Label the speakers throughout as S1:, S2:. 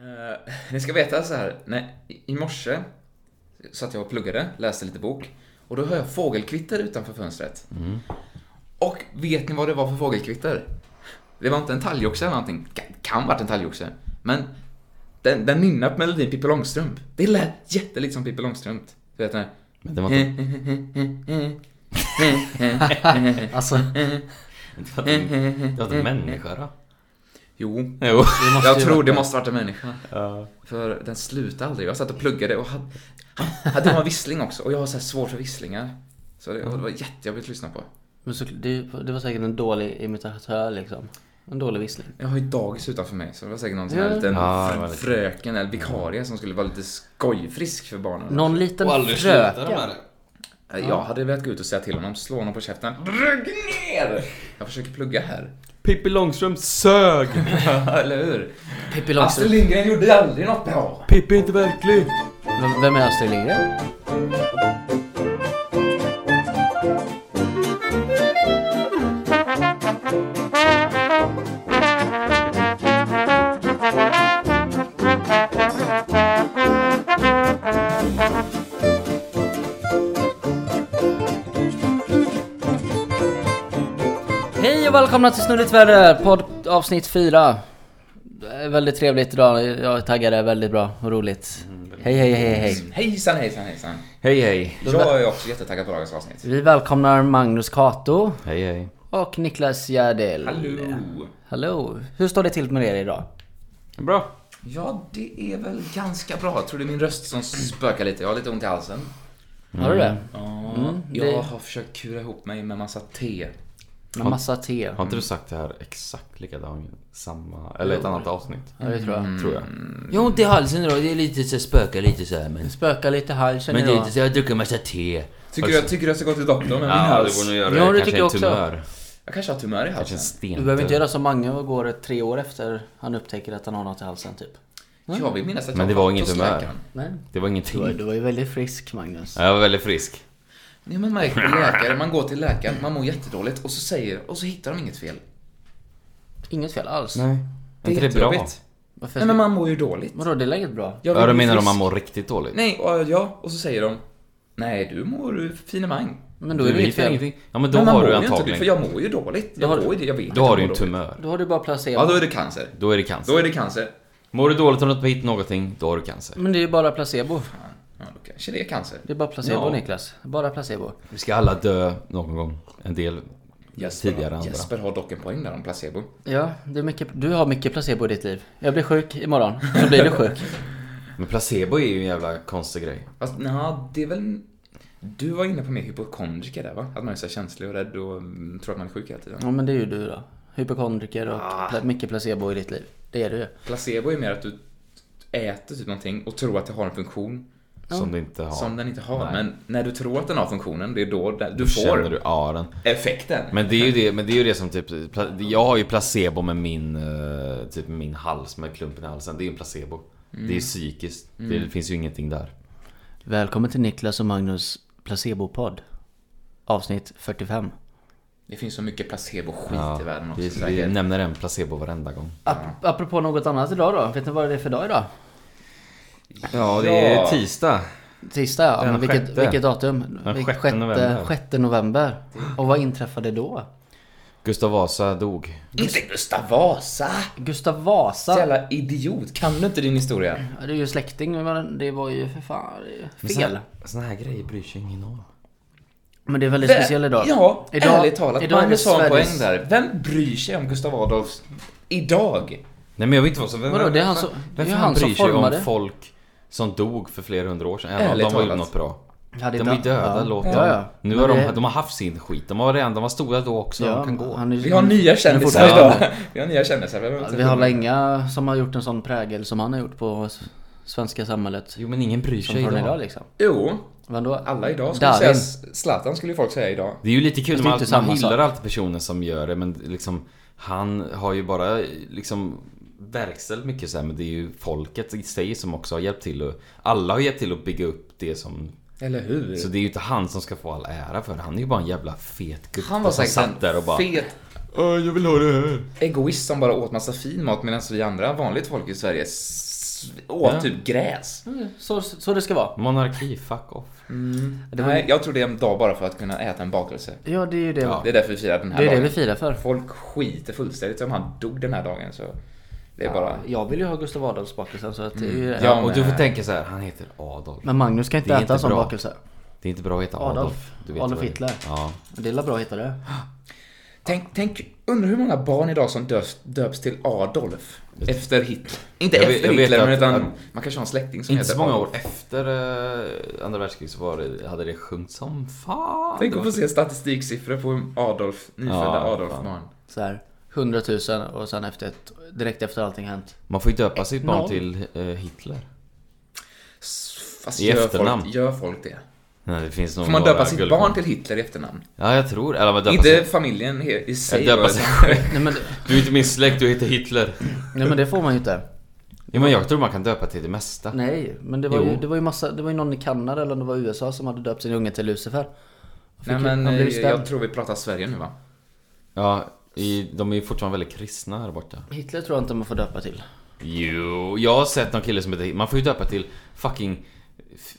S1: Eh, ni ska veta så här, nej, i- i morse satt jag och pluggade, läste lite bok och då hör jag fågelkvitter utanför fönstret. Och vet ni vad det var för fågelkvitter? Det var inte en talgoxe eller någonting. Ka- Kan varit en talgoxe. Men den, den nynnar på melodin Pippi Långstrump. Det lät jättelikt som Pippi Långstrump. Du vet den här.
S2: Men det var inte...
S3: Alltså, eh,
S2: Det var inte, det var inte en människa då?
S1: Jo,
S2: Jo.
S3: det måste
S1: jag
S3: ju
S1: tror
S3: vara-
S1: det måste varit en människa. För den slutade aldrig. Jag satt och pluggade och hade, hade det var en vissling också. Och jag har så här svårt för visslingar. Så det, och det var jättejobbigt att lyssna på.
S3: Men så, det, det var säkert en dålig imitatör liksom. En dålig vissling.
S1: Jag har ju dagis utanför mig så det var säkert någon sån här
S3: Ja.
S1: liten
S2: Ja, det
S1: fr-
S2: var lite-
S1: fröken eller vikarie som skulle vara lite skojfrisk för barnen.
S3: Någon liten
S4: Och aldrig slutar de
S3: fröken.
S4: med det.
S1: Jag hade velat gå ut och säga till honom, slå honom på käften. Rygg ner! Jag försöker plugga här.
S2: Pippi Långstrump sög!
S1: eller hur?
S3: Pippi
S1: Astrid
S3: Långstrump.
S1: Lindgren gjorde aldrig något bra.
S2: Pippi är inte verklig!
S3: V- Vem är Astrid Lindgren? Hej och välkomna till Snurrigt Väder, podd avsnitt 4. Det är Väldigt trevligt idag, jag är taggad, det är väldigt bra och roligt.
S5: Mm.
S3: Hej hej hej hej.
S1: Hejsan hejsan hejsan.
S2: Hej hej!
S1: Jag är också jättetaggad på dagens avsnitt.
S3: Vi välkomnar Magnus Kato
S2: Hej hej.
S3: och Niklas Gärdel.
S1: Hallå!
S3: Hallå. Hur står det till med er idag?
S2: Bra.
S1: Ja, det är väl ganska bra. Jag tror det är min röst som spökar lite. Jag har lite ont i halsen.
S3: Har du det?
S1: Ja,
S3: Mm, det-
S1: Jag har försökt kura ihop mig med massa te.
S3: Med massa te?
S2: Har inte du sagt det här exakt likadant? Samma... Eller ett annat avsnitt?
S3: Ja, det tror jag.
S2: Tror jag.
S5: Mm. Jag har ont i halsen idag, det är lite så spökar lite så här men...
S3: Spökar lite i halsen
S5: Men det är
S3: idag.
S5: inte så, jag har druckit en massa te.
S1: Tycker du, jag tycker du jag ska gå till doktorn med min hals?
S2: göra
S3: Ja, det tycker jag också.
S1: Jag kanske har tumör i
S2: Kanske
S1: halsen.
S2: en sten.
S3: Du behöver inte göra som Mange och går tre år efter han upptäcker att han har något i halsen typ.
S1: Jag vill minnas att
S2: Men det
S1: jag har
S2: var
S1: varit
S2: ingen
S1: hos
S2: tumör.
S1: läkaren.
S3: Nej.
S2: Det var ingenting.
S3: Du var ju väldigt frisk Magnus.
S2: Ja, Jag var väldigt frisk.
S1: Nej men man gick till läkare, man går till läkaren, man mår jättedåligt och så säger, och så hittar de inget fel.
S3: Inget fel alls.
S2: Nej. Är inte det bra?
S1: jättejobbigt.
S3: Varför?
S1: Nej men man mår ju dåligt.
S3: Vadå, det är läget bra?
S1: Jag
S2: Ja,
S1: vill
S2: du
S1: bli
S2: menar om
S1: frisk.
S2: man mår riktigt dåligt?
S1: Nej, och, äh, ja, och så säger de, nej du mår finemang.
S3: Men då
S2: Du
S3: är det inget
S2: vet ju
S3: fel.
S2: ingenting. Ja, men då
S1: Men man
S2: har
S1: mår
S2: du
S1: ju inte det, för
S2: antagligen...
S1: jag mår ju dåligt.
S3: Då har
S1: Jag
S3: du-
S1: mår ju det, jag vet
S2: Då har
S1: att
S2: du
S1: jag
S2: ju en
S1: mår dåligt.
S2: tumör.
S3: Då har du bara placebo.
S2: Alltså-
S1: Ja, då är det cancer.
S2: Då är det
S1: Då är
S2: cancer.
S1: det cancer.
S2: Mår du dåligt om du inte hittat någonting, då har du cancer.
S3: Men det är ju bara placebo.
S1: Ja, då kanske det är cancer.
S3: Det är bara placebo
S2: Ja.
S3: Niklas. Bara placebo.
S2: Vi ska alla dö någon gång. En del tidigare än andra.
S1: Jesper har dock en poäng där om placebo.
S3: Ja, det är mycket, du har mycket placebo i ditt liv. Jag blir sjuk imorgon, så blir du sjuk.
S2: Men placebo är ju en jävla konstig grej.
S1: Fast nja, det är väl... Du var inne på mer hypokondriker där va? Att man är så här känslig och rädd och mm, tror att man är sjuk hela tiden.
S3: Ja men det är ju du då. Hypokondriker och
S2: Ah.
S3: pla- mycket placebo i ditt liv. Det är du ju.
S1: Placebo är mer att du äter typ någonting och tror att det har en funktion
S2: Som du inte har.
S1: som den inte har. Men när du tror att den har funktionen, det är då den, du
S2: Känner
S1: får
S2: du ja, den.
S1: effekten.
S2: Men det är ju det, men det är ju det som typ... pla- Jag har ju placebo med min... eh, Typ med min hals, med klumpen i halsen. Det är ju en placebo.
S1: Mm.
S2: Det är ju psykiskt. Det finns ju ingenting där.
S3: Välkommen till Niklas och Magnus placebopodd. Avsnitt 45.
S1: Det finns så mycket placebo-skit i världen också.
S2: vi, vi
S1: säkert.
S2: nämner en placebo varenda gång.
S3: Ap- apropå något annat idag då. Vet ni vad det är för dag idag?
S2: Ja,
S1: det är
S2: tisdag.
S3: Tisdag ja.
S2: Den
S3: Men vilket,
S2: sjätte.
S3: vilket datum?
S2: Den
S3: Vil-
S2: sjätte
S3: sjätte-
S2: november.
S3: sjätte november. Och vad inträffade då?
S2: Gustav Vasa dog.
S1: Inte Gustav Vasa!
S3: Gustav
S1: Så
S3: Vasa.
S1: jävla idiot. Kan du inte din historia?
S3: Ja, Det är ju släkting men det var ju för fan det är ju fel.
S2: Såna här grejer bryr sig ingen om.
S3: Men det är väldigt
S1: Vä-
S3: speciell idag.
S1: Ja,
S3: Idag-
S1: ärligt talat.
S3: idag är det
S1: Magnus har en poäng
S3: Sveriges-
S1: där. Vem bryr sig om Gustav Adolfs idag?
S2: Nej men jag vet inte vad som... Vem,
S3: Vadå,
S2: vem-
S3: det är han
S2: vem-
S3: som-
S2: vem
S3: det är
S2: fan
S3: han som
S2: bryr sig
S3: formade.
S2: om folk som dog för flera hundra år sedan? Även om
S1: Ärligt
S2: de var ju
S1: talat.
S2: något bra.
S3: Hade
S2: De
S3: inte-
S2: är ju döda,
S3: ja.
S2: låt
S3: Ja,
S2: dem.
S3: ja.
S2: Nu
S3: Men
S2: har
S3: det-
S2: de, de har haft sin skit. De var redan, de var stora då också.
S3: Ja,
S2: de kan gå.
S3: han är-
S1: Vi har nya kändisar
S3: fortfarande-
S1: idag. Vi har nya kändisar. Vi behöver
S3: Ja,
S1: inte-
S3: Vi har väl inga som har gjort en sån prägel som han har gjort på s- svenska samhället.
S2: Jo men ingen bryr
S3: Som
S2: sig
S3: från
S2: idag.
S3: idag liksom.
S1: Jo,
S3: Men då?
S1: alla idag skulle
S3: Darin.
S1: säga... Zlatan skulle ju folk säga idag.
S2: Det är ju lite kul,
S3: Fast
S2: man,
S3: det är inte
S2: man
S3: samma
S2: hyllar alltid personer som gör det men liksom Han har ju bara liksom verkställt mycket så här, men det är ju folket i sig som också har hjälpt till och Alla har hjälpt till att bygga upp det som
S1: Eller hur?
S2: Så det är ju inte han som ska få all ära för han är ju bara en jävla fet gubbe
S1: Han var
S2: som
S1: säkert
S2: satt där och bara
S1: en fet
S2: "Åh, Jag vill ha det här
S1: egoist som bara åt massa fin mat medan vi andra, vanligt folk i Sverige, s- sv- åt
S2: Ja.
S1: typ gräs.
S3: Så, så det ska vara.
S2: Monarki, fuck off.
S3: Det var-
S1: Nej, jag tror det är en dag bara för att kunna äta en bakelse.
S3: Ja, det är ju det.
S1: Det är därför vi firar den här
S3: det är det
S1: dagen.
S3: vi firar för.
S1: Folk skiter fullständigt om han dog den här dagen så det är bara...
S3: Jag vill ju ha Gustav Adolfs bakelse så att det är ju...
S1: Mm. Ja,
S2: och du får
S1: men-
S2: tänka så här, han heter Adolf.
S3: Men Magnus kan
S2: Det
S3: inte
S2: är
S3: äta
S2: inte
S3: en sån
S2: bra.
S3: bakelse.
S2: Det är inte bra att heta Adolf.
S3: Adolf. Adolf
S2: vad det är.
S3: Hitler.
S2: Ja.
S3: Det är bra att hitta det.
S1: Tänk, tänk, undrar hur många barn idag som döps, döps till Adolf efter Hitler. Inte
S2: Jag vet-
S1: efter
S2: jag vet
S1: Hitler, men
S2: att-
S1: utan
S2: att-
S1: man kanske har en släkting som
S2: Inte
S1: heter
S2: så många
S1: Adolf.
S2: år efter eh, andra världskriget så var det, hade det sjunkit som fan.
S1: Tänk
S2: Det
S1: att
S2: var
S1: få
S2: så-
S1: se statistiksiffror på hur Adolf, nyfödda
S2: Ja,
S1: Adolf-barn.
S2: fan.
S3: Så här, 100 000 och sen efter ett, direkt efter allting hänt.
S2: Man får ju döpa sitt
S3: Noll.
S2: barn till eh, Hitler.
S1: S- Fast
S2: I
S1: gör
S2: efternamn.
S1: folk, gör folk det?
S2: Nej, det finns nog
S1: Får man
S2: några
S1: döpa sitt
S2: guldkorn.
S1: barn till Hitler i efternamn?
S2: Ja, jag tror. Eller man döpa
S1: Inte
S2: sig.
S1: familjen he- i sig.
S2: döpa
S1: bara-
S2: sig
S3: Nej men,
S2: Du är inte min släkt, du heter Hitler.
S3: nej, men det får man ju inte.
S2: Ja, men jag tror man kan döpa till det mesta.
S3: Nej, men det var,
S2: Jo.
S3: ju, det var ju massa, det var ju någon i Kanada eller om det var USA som hade döpt sin unge till Lucifer. Fick
S1: Nej
S3: ju-
S1: men
S3: han blev
S1: eh,
S3: ju stämd.
S1: jag tror vi pratar Sverige nu va?
S2: Ja, i, de är ju fortfarande väldigt kristna här borta.
S3: Hitler tror jag inte man får döpa till.
S2: Jo, jag har sett någon kille som heter Man får ju döpa till fucking... f-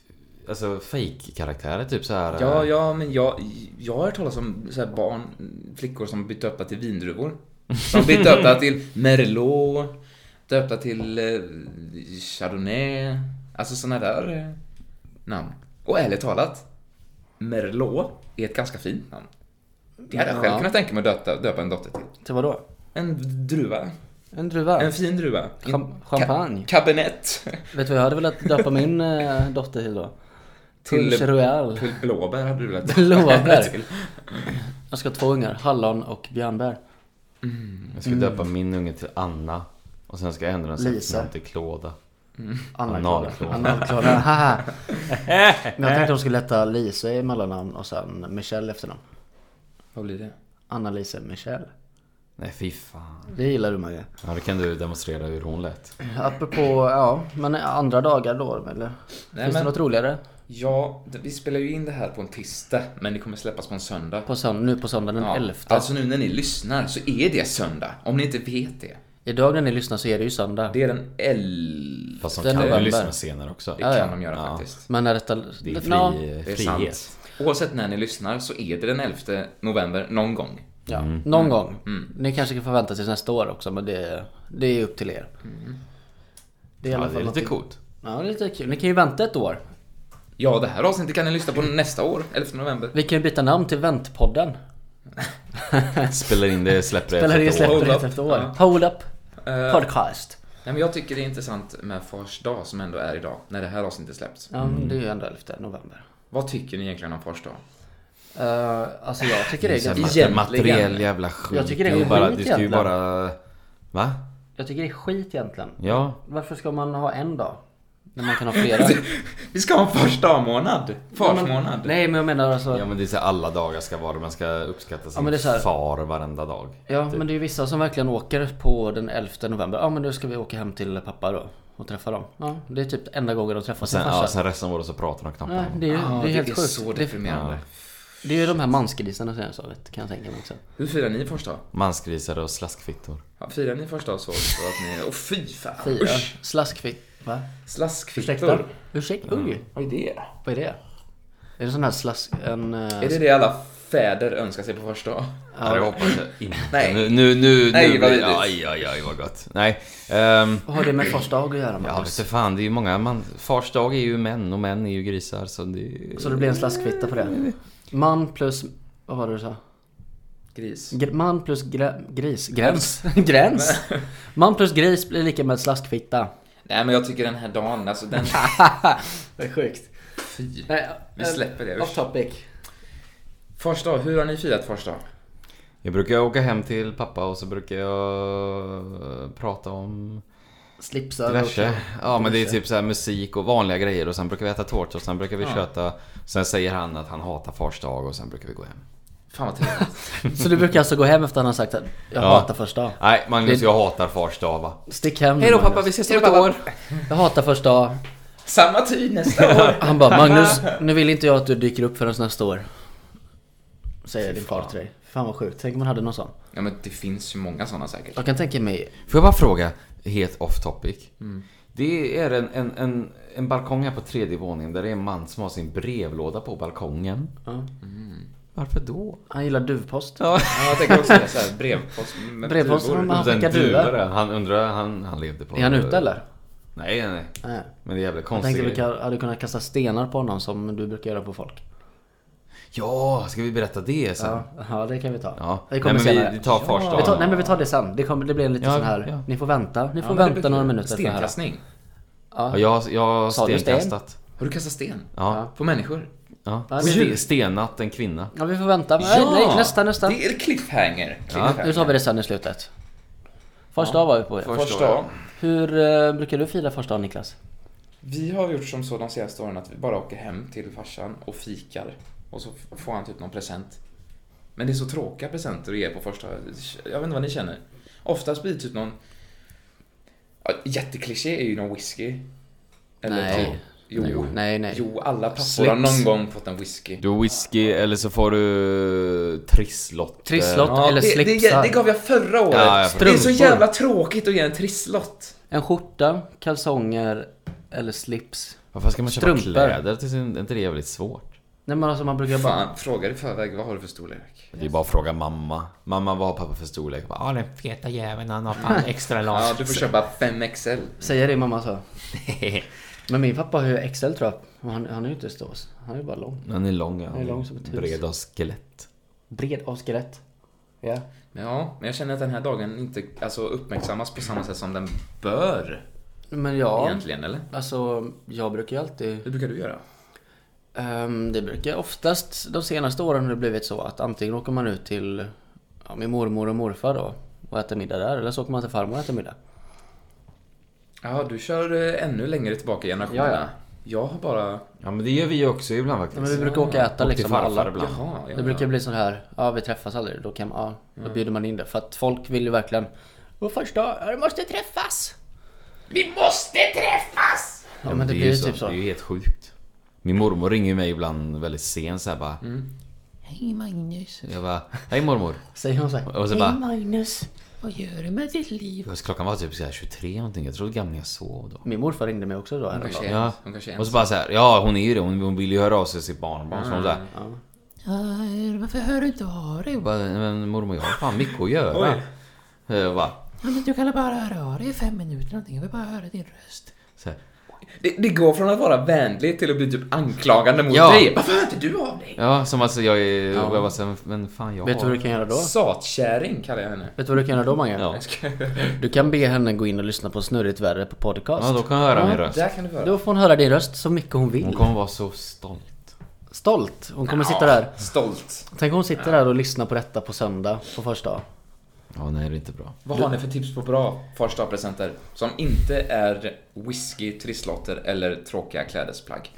S2: Alltså fake-karaktärer typ så här.
S1: Ja,
S2: eh,
S1: ja men jag, jag har hört talas om så här barn, flickor som blivit döpta till vindruvor. Som blivit döpta till Merlot, döpta till eh, Chardonnay, alltså såna där eh, namn. Och ärligt talat, Merlot är ett ganska fint namn. Det hade jag själv
S3: Ja.
S1: kunnat tänka mig att döpa, döpa en dotter till.
S3: Till vadå?
S1: En druva.
S3: En druva?
S1: En fin druva.
S3: Cham- champagne.
S1: Ka- kabinett.
S3: Vet du vad jag hade velat döpa min eh, dotter till då?
S1: Till-
S3: Till Royal.
S1: Till blåbär hade du velat
S3: Blåbär. Jag ska ha två ungar, hallon och björnbär.
S2: Jag
S3: mm.
S2: ska döpa min unge till Anna. Och sen ska jag ändra hennes
S3: Lisa.
S2: namn till Klåda.
S3: Analklara.
S2: Analklara.
S3: Analklara. haha. Men jag tänkte de skulle heta Lise i mellannamn och sen Michelle efternamn.
S1: Vad blir det?
S3: Anna-Lise Michelle.
S2: Nej fy fan.
S3: Det gillar du Mange.
S2: Ja, då kan du demonstrera hur hon lät.
S3: Apropå, ja, men andra dagar då eller?
S1: Nej, men-
S3: Finns det något roligare?
S1: Ja, det- vi spelar ju in det här på en tisdag, men det kommer släppas på en söndag.
S3: På sönd- nu på söndag den
S1: Ja,
S3: 11.
S1: Alltså nu när ni lyssnar så är det söndag, om ni inte vet det.
S3: Idag när ni lyssnar så är det ju söndag.
S1: Det är den 11...
S2: Fast de
S3: Den
S2: kan ju
S3: november.
S2: lyssna senare också.
S1: Det kan
S3: ja.
S1: de göra
S2: Ja.
S1: faktiskt.
S3: Men när detta...
S2: Det är fri,
S3: Ja,
S1: Det är
S2: frihet.
S1: sant. Oavsett när ni lyssnar så är det den 11 november någon gång.
S3: ja,
S2: Mm.
S3: någon gång. Ni kanske kan förvänta tills nästa år också men det, det är upp till er. Det är i alla
S2: Mm. Ja, det
S3: fall
S2: är lite
S3: någonting-
S2: coolt.
S3: Ja, det är lite kul. Ni kan ju vänta ett år.
S1: Ja, det här avsnittet kan ni lyssna på nästa år, 11 november.
S3: Vi kan ju byta namn till Väntpodden.
S2: Spelar in det, släpper det
S3: Spelar
S2: efter
S3: det
S2: ett år.
S3: släpper
S1: Hold
S3: det
S1: up.
S3: efter år.
S1: Ja.
S3: Hold up
S1: Eh,
S3: podcast.
S1: Nej, men jag tycker det är intressant med Fars dag som ändå är idag, när det här avsnittet släpps.
S3: Ja, men det är ju ändå 11 november.
S1: Vad tycker ni egentligen om Fars dag?
S3: Eh, alltså jag tycker det är
S2: Sån mater-
S3: ganska...
S1: Egentligen.
S2: Materiell jävla skit.
S3: Jag tycker det är
S2: Du bara,
S3: skit
S2: Du ska ju
S3: egentligen.
S2: bara... Va?
S3: Jag tycker det är skit egentligen.
S2: Ja.
S3: Varför ska man ha en dag? När man kan ha flera?
S1: Vi ska ha en Fars dag-månad! Fars månad!
S3: Nej men jag menar alltså...
S2: Ja men det är så här, alla dagar ska vara Man ska uppskatta sin
S3: men det är så här-
S2: far varenda dag.
S3: Ja men det är ju vissa som verkligen åker på den 11 november. Ja men nu ska vi åka hem till pappa då. Och träffa dem. Ja, det är typ enda gången de träffar sin
S2: Sen, ja,
S3: farsa.
S2: sen resten av året så pratar de knappt om
S3: Ja,
S2: det.
S3: det är ju
S1: Ja,
S3: det är helt sjukt.
S1: Ah, så
S3: det,
S1: deprimerande.
S3: det är ju de här mansgrisarna som jag sa vet, kan jag tänka mig också.
S1: Hur firar ni Fars dag?
S2: Mansgrisar och slaskfittor.
S1: Ja, firar ni Fars dag så, så att ni... Åh fy fan!
S3: Fyra.
S1: usch.
S3: Slaskfitt. Va? Ursäkta?
S1: Slaskfittor.
S3: Ursäkta? Oj,
S1: Vad är det?
S3: vad är det? Är det sån här slask... En... eh,
S1: Är det det alla fäder önskar sig på första dag?
S2: Ja, det hoppas jag inte.
S1: Nej.
S2: Nu, nu, nu,
S1: Nej,
S2: nu
S1: vad
S2: blir-
S1: vidrigt.
S2: Aj, aj, aj, vad gott. Nej. ehm,
S3: Vad har det med första dag att göra
S2: ja, vet
S3: Magnus?
S2: du fan, det är ju många. Man, fars dag är ju män och män är ju grisar så det...
S3: Så det blir en slaskfitta på det. Man plus... Vad var det du sa?
S1: Gris.
S3: Gr- man plus grä, gris. Gräns. Gräns? Man plus gris blir lika med slaskfitta.
S1: Nej men jag tycker den här dagen, alltså den...
S3: Det är sjukt.
S1: Fy.
S3: Nej,
S1: Vi
S3: eh,
S1: släpper det,
S3: Off
S1: usch.
S3: topic.
S1: Första dag, hur har ni firat första dag?
S2: Jag brukar åka hem till pappa och så brukar jag eh, prata om
S3: Slipsar och-
S2: Diverse. Ja men det är typ så här musik och vanliga grejer och sen brukar vi äta tårta och sen brukar vi köta. Sen säger han att han hatar fars dag och sen brukar vi gå hem.
S1: Fan vad trevligt.
S3: Så du brukar alltså gå hem efter att han har sagt att jag
S2: Ja.
S3: hatar första dag?
S2: Nej Magnus jag hatar fars dag va.
S3: Stick hem nu,
S2: Hej då pappa
S3: Magnus.
S2: vi ses om ett år.
S3: Jag hatar första dag.
S1: Samma tid nästa år!
S3: Han bara Magnus, nu vill inte jag att du dyker upp förrän nästa år. Säger din far till dig. Fan vad sjukt, tänk om man hade någon sån.
S1: Ja men det finns ju många sådana säkert.
S3: Jag kan tänka mig,
S2: Får jag bara fråga. Helt off topic. Det är en, en, en, en balkong här på tredje våningen där det är en man som har sin brevlåda på balkongen. Mm.
S3: Ja.
S2: Varför då?
S3: Han gillar duvpost.
S1: Ja, jag tänker också det. Så här, brevpost med
S3: Brevpost
S1: duvor.
S3: från mamma. Han
S2: Den
S3: skickar duvor.
S2: duvor, Han undrar, han, han levde på...
S3: Är han ute eller?
S2: Nej, nej, nej.
S3: Nej.
S2: Men det är jävla
S3: Jag
S2: konstigt.
S3: tänkte vi kan- hade kunnat kasta stenar på honom som du brukar göra på folk.
S2: Ja, ska vi berätta det sen?
S3: Ja, ja det kan vi ta.
S2: Ja.
S3: Det kommer
S2: Nej, men vi-
S3: senare.
S2: vi tar Fars dag.
S3: Vi tar, nej men vi tar det sen. Det, kommer, det blir en liten
S2: Ja,
S3: sån här...
S2: ja.
S3: Ni får vänta. Ni
S1: Ja,
S3: får
S1: men det
S3: vänta
S1: blir
S3: några minuter för det här.
S1: Stenkastning.
S2: Ja, jag, jag har
S3: Sa du sten?
S2: stenkastat.
S1: Har du kastat sten?
S2: Ja.
S1: På människor?
S2: ja.
S3: Ja, det-
S2: Ste- Stenat en kvinna.
S3: Ja vi får vänta. Nej, nej nästa, nästa.
S1: Det är cliffhanger.
S3: Nu tar vi det sen i slutet. Fars dag var vi på.
S2: Fars-
S1: Första dagen.
S3: Hur eh, brukar du fira fars dag Niklas?
S1: Vi har gjort som så de senaste åren att vi bara åker hem till farsan och fikar. Och så f- får han typ någon present. Men det är så tråkiga presenter att ge på första... Jag vet inte vad ni känner. Oftast blir det typ någon... Ja, jättekliché är ju någon whisky. Eller
S3: Nej.
S1: typ- Jo.
S3: Nej, nej.
S1: Jo, alla pappor har
S3: Slips.
S1: någon gång fått en whisky.
S2: Du har whisky eller så får du trisslott.
S3: Trisslott eller
S1: det, det,
S3: slipsar.
S1: det gav jag förra året.
S2: Ja, jag förstår.
S1: det är så
S3: Strumpor.
S1: jävla tråkigt att ge en trisslott.
S3: En skjorta, kalsonger eller slips.
S2: Varför ska man köpa
S3: Strumpor.
S2: kläder till sin... Är inte det jävligt svårt?
S3: Nej men alltså man brukar bara...
S1: Fan, frågar i förväg vad har du för storlek?
S2: Det är bara att fråga mamma. Mamma, vad har pappa för storlek? Bara, "Ah, "Ja, den feta jäveln, han har fan extra large.
S1: Ja, du får köpa 5XL.
S3: Säga det mamma sa. Men min pappa har ju XL tror jag. Men Han, han är ju inte stor. Han är ju bara lång.
S2: Han är lång, han
S3: är lång som ett hus.
S2: Bred av skelett.
S3: Bred av skelett. Ja.
S1: Men Ja, men jag känner att den här dagen inte alltså, uppmärksammas på samma sätt som den bör.
S3: Men ja.
S1: Egentligen, eller?
S3: Alltså jag brukar ju alltid
S1: Hur brukar du göra?
S3: Ehm, det brukar oftast, de senaste åren har det blivit så att antingen åker man ut till ja, min mormor och morfar då och äter middag där eller så åker man till farmor och äter middag.
S1: Ja, du kör eh, ännu längre tillbaka i generationerna.
S3: Ja, ja.
S1: Jag har bara...
S2: Ja, men det gör vi ju också ibland faktiskt.
S3: Ja, men vi brukar åka och äta
S2: Och till
S3: liksom
S2: farfar
S3: alla.
S2: ibland.
S1: Jaha, ja,
S3: Det brukar
S1: ja.
S3: bli så här, ja vi träffas aldrig, då, kan, ja, då
S2: Mm.
S3: bjuder man in det. För att folk vill ju verkligen, och första, ja, du måste träffas!
S1: Vi måste träffas!
S3: Ja, men det,
S2: är
S3: blir
S2: ju
S3: ju typ så.
S2: Det är ju helt sjukt. Min mormor ringer ju mig ibland väldigt sent så här bara.
S3: Mm.
S4: Hej Magnus.
S2: Jag bara, hej mormor.
S3: Säger hon så här.
S2: Och så
S4: Hej
S2: bara,
S4: Magnus. Vad gör du med ditt liv?
S2: och så klockan var typ så här 23 någonting. Jag trodde gamlingen sov då.
S3: Min morfar ringde mig också då en
S1: kanske
S3: dag.
S1: är-
S2: Ja.
S1: Hon kanske är
S2: Och så bara så här, ja hon är ju det. Hon, hon vill ju höra av sig till sitt barnbarn. Så hon så här,
S4: Uh, varför hör du inte av dig?
S2: jag bara, men mormor jag har fan mycket att göra. Jag bara,
S4: Ja, men du kan väl bara höra av dig i fem minuter någonting. Jag vill bara höra din röst.
S2: så här,
S1: det, det går från att vara vänlig till att bli typ anklagande mot
S2: Ja.
S1: dig. Varför hör inte du av dig?
S2: ja som alltså jag är, och jag bara så här, men fan jag
S3: Vet du vad
S2: har...
S3: du kan göra då?
S1: Satkärring kallar jag henne.
S3: Vet du vad du kan göra då Mange?
S2: Ja.
S1: Jag ska-
S3: Du kan be henne gå in och lyssna på Snurrigt Värre på podcast.
S2: Ja då kan jag höra min röst.
S1: Där kan du höra.
S3: Då får hon höra din röst så mycket hon vill.
S2: Hon kommer vara så stolt.
S3: Stolt. Hon kommer sitta där.
S1: Stolt.
S3: Tänk hon sitter där och lyssnar på detta på söndag, på första dag.
S2: Ja nej det är inte bra.
S1: Vad har ni för tips på bra första presenter som inte är whisky, trisslotter eller tråkiga klädesplagg?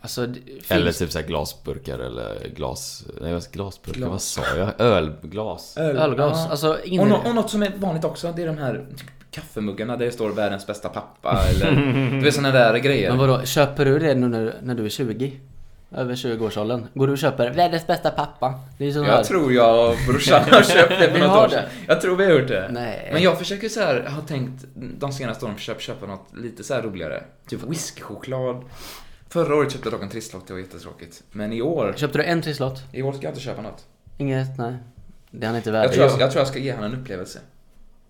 S3: Alltså, det finns...
S2: Eller typ såhär glasburkar eller glas... Nej vad- glasburkar, vad sa jag? Ölglas.
S3: Ölglas.
S1: Ja.
S3: Alltså, ingen...
S1: Och, nå- och något som är vanligt också, det är de här typ, kaffemuggarna där det står världens bästa pappa eller du vet såna där
S3: Men
S1: grejer.
S3: vadå, köper du det nu när, när du är 20? Över 20-årsåldern? Går du och köper världens bästa pappa? Det är ju sån här...
S1: Jag tror jag och brorsan har köpt det för
S3: Vi
S1: något
S3: har
S1: år sedan. Jag tror vi har gjort det.
S3: Nej.
S1: Men jag försöker så här, har tänkt de senaste åren försökt köpa något lite så här roligare. Typ whiskychoklad. Förra året köpte jag dock en trisslott, det var jättetråkigt. Men i år,
S3: Köpte du en trisslott?
S1: i år ska jag inte köpa något.
S3: Inget? Nej. Det är han inte värd.
S1: Jag tror jag, jag, tror jag ska ge honom en upplevelse.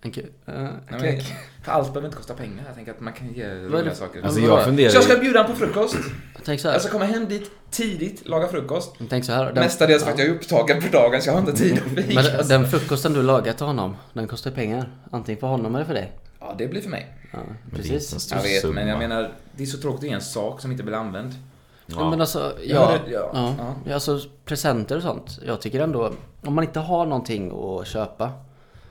S3: En ku- eh,
S1: Nej, men,
S3: kek.
S1: för allt behöver inte kosta pengar. Jag tänker att man kan ge roliga
S3: det-
S1: saker.
S2: Alltså
S3: vadå?
S2: jag funderar
S1: Så jag ska
S2: ju...
S1: bjuda honom på frukost.
S3: Tänk så här.
S1: Jag ska komma hem dit tidigt, laga frukost.
S3: Tänk så här. Den...
S1: Mestadels för att jag är upptagen för dagen så jag har inte tid att fika.
S3: Men den- den frukosten du lagat till honom, den kostar ju pengar. Antingen för honom eller för dig.
S1: Ja, det blir för mig.
S3: Ja,
S2: det är
S3: precis.
S2: inte en stor
S1: Jag vet, men jag
S2: summa.
S1: menar, det är så tråkigt att ge en sak som inte blir använd.
S3: Ja. Men alltså, ja,
S1: Ja,
S3: ja,
S1: det- ja,
S3: ja. Alltså presenter och sånt. Jag tycker ändå, om man inte har någonting att köpa.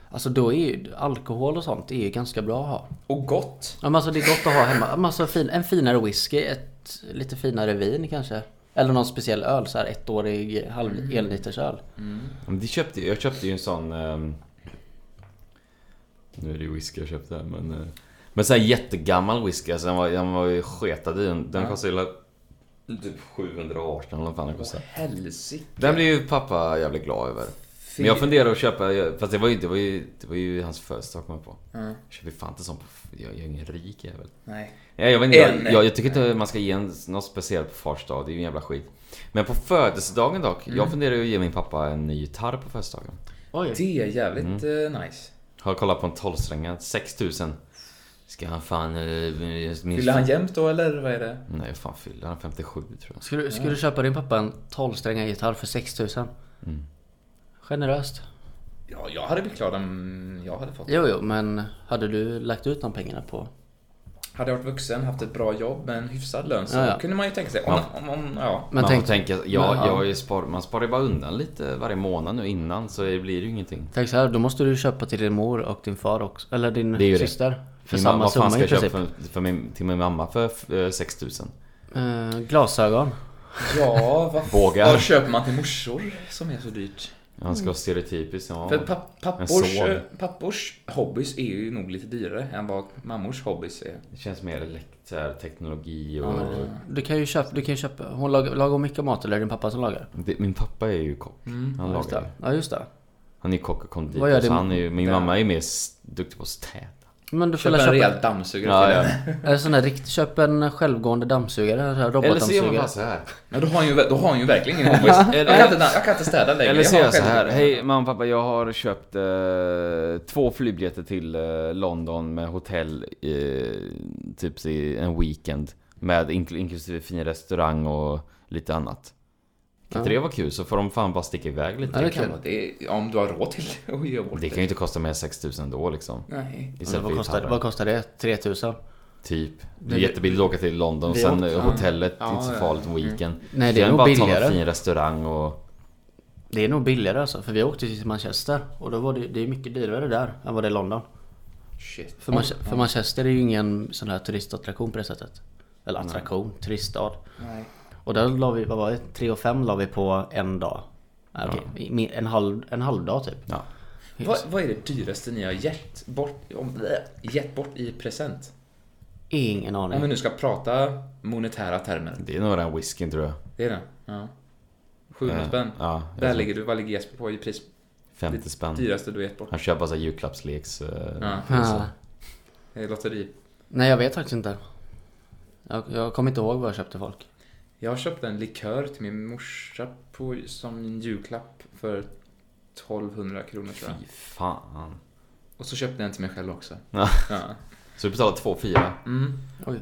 S3: Alltså då är ju alkohol och sånt är ju ganska bra att ha.
S1: Och gott.
S3: Ja, men alltså det är gott att ha hemma. Ja, men Alltså, fin, en finare whisky, ett lite finare vin kanske. Eller någon speciell öl, så här ettårig halv enliters öl.
S2: Ja, Men det köpte, jag- jag köpte ju en sån... ehm, Nu är det ju whisky jag köpte här men... eh, men sån här jättegammal whisky, alltså den var, den var ju sketad i. Den, den kostade ju la- typ 718 eller vad fan den kostade.
S1: Helsike.
S2: Den blev ju pappa jävligt glad över. Men jag funderar att köpa, fast det var ju inte, det var ju, det var ju hans födelsedag kom jag på.
S1: Ja.
S2: Jag köper fan inte sånt på, jag jag är ingen rik jävel.
S1: Nej.
S2: Nej, jag, vet inte,
S1: Än.
S2: jag, jag, jag tycker inte man ska ge en, något speciellt på fars dag, det är ju en jävla skit. Men på födelsedagen dock, jag funderar ju att ge min pappa en ny gitarr på födelsedagen.
S1: Det är jävligt
S2: Mm.
S1: eh, nice.
S2: Har kollat på en 12-strängad, 6000.
S5: Ska han fan... eh, minst-
S1: Fyller han jämt då eller vad är det?
S2: Nej, hur fan fyller han? 57 tror jag.
S3: Skulle, du- skulle du köpa din pappa en 12-strängad gitarr för 6000? Generöst.
S1: Ja, jag hade blivit glad om jag hade fått.
S3: Jo, jo, men hade du lagt ut de pengarna på...
S1: Hade jag varit vuxen, haft ett bra jobb med en hyfsad lön så
S3: Ja, ja.
S1: kunde man ju tänka sig. Om, om, om, ja.
S3: Men
S2: man
S3: tänk,
S2: får tänka, ja,
S3: men, ja.
S2: jag är spar, man sparar ju bara undan lite varje månad nu innan så det blir ju ingenting.
S3: tänk så här, då måste du köpa till din mor och din far också. Eller din
S2: Det är ju det.
S3: syster. För
S2: Min mamma-
S3: samma summa
S2: Vad
S3: i
S2: fan ska
S3: princip.
S2: jag köpa för, för min, till min mamma för eh, 6000?
S3: Eh, glasögon.
S1: Ja, vad,
S2: Bågar.
S1: vad köper man till morsor som är så dyrt?
S2: Han
S3: Mm.
S2: ska vara stereotypisk. Ja.
S1: För papp,
S2: En
S1: pappors,
S2: son.
S1: eh, pappors hobbys är ju nog lite dyrare än vad mammors hobbys är.
S2: Det känns mer elekt- så här, teknologi och...
S3: Du kan ju köpa... Du kan ju köpa hon lagar, lagar hon mycket mat eller är det din pappa som lagar?
S2: det, min pappa är ju kock. han
S3: Just
S2: lagar
S3: det.
S2: ju.
S3: Mm. Ja, just det.
S2: Han är ju kock och
S3: Vad gör
S2: konditor.
S3: det
S2: Så
S3: med-
S2: han är ju, min
S3: där?
S2: mamma är ju mer s- duktig på att städa.
S3: Men du får
S1: Köpa
S3: väl
S1: en
S3: köpa...
S1: rejäl dammsugare
S2: Ja,
S1: till
S2: ja.
S1: den.
S3: En sån där riktig... Köp en självgående dammsugare. En sån här
S2: Eller så gör man
S3: robotdammsugare.
S2: bara så här.
S1: Men då har han ju, då har han ju verkligen ingen hobbys. jag, kan inte, jag kan inte städa längre.
S2: Eller så
S1: har
S2: gör jag så
S1: själv-
S2: här. Hej mamma och pappa, jag har köpt eh, två flygbiljetter till eh, London med hotell eh, typ i en weekend. Med inkl- inklusive fin restaurang och lite annat. Kan inte det vara kul? Så får de fan bara sticka iväg lite.
S3: Ja,
S1: Det kan vara det, om du har råd till det och ge bort
S2: Det kan ju inte kosta mer än 6000 då liksom.
S1: Nej.
S3: Men
S2: Istället
S3: Vad
S2: för
S3: kostar,
S2: gitarren.
S3: vad kostar det? 3000?
S2: Typ. Det är jättebilligt att åka till London och
S3: Vi
S2: sen
S3: åkte-
S2: eh, hotellet,
S1: Ja,
S2: inte så
S1: ja,
S2: farligt weekend.
S3: Nej, det är
S2: Sen
S3: nog
S2: bara ta
S3: billigare.
S2: någon fin restaurang och...
S3: Det är nog billigare alltså, för vi åkte till Manchester och då var det, det är mycket dyrare där än vad det är i London.
S1: Shit.
S2: Mm.
S3: För, Manche- för Manchester är ju ingen sån här turistattraktion på det sättet. Eller attraktion, turiststad.
S1: Nej.
S3: Och där la vi, vad var det? 3 och 5 la vi på en dag. Äh, okej, mi- en, halv, en halv dag typ.
S2: Ja.
S1: Vad, vad är det dyraste ni har gett bort, om, bleh, gett bort i present?
S3: Ingen aning.
S1: Om vi nu ska prata monetära termer.
S2: Det är nog den whiskyn tror jag.
S1: Det är det? Ja. 700
S2: Eh,
S1: spänn.
S2: Ja,
S1: Där ligger du. Vad ligger Jesper på i pris?
S2: 50
S1: Det
S2: spänn.
S1: dyraste du har gett bort?
S2: Han köper bara så här julklappsleks... eh,
S1: Ja.
S3: Ah.
S1: Det är lotteri.
S3: Nej jag vet faktiskt inte. Jag, jag kommer inte ihåg vad jag köpte folk.
S1: Jag köpte en likör till min morsa på, som en julklapp för 1200 kronor tror jag.
S2: Fy fan.
S1: Och så köpte jag en till mig själv också.
S2: Ja.
S1: Ja.
S2: Så du betalade 2,4?
S1: Mm.
S3: Oj.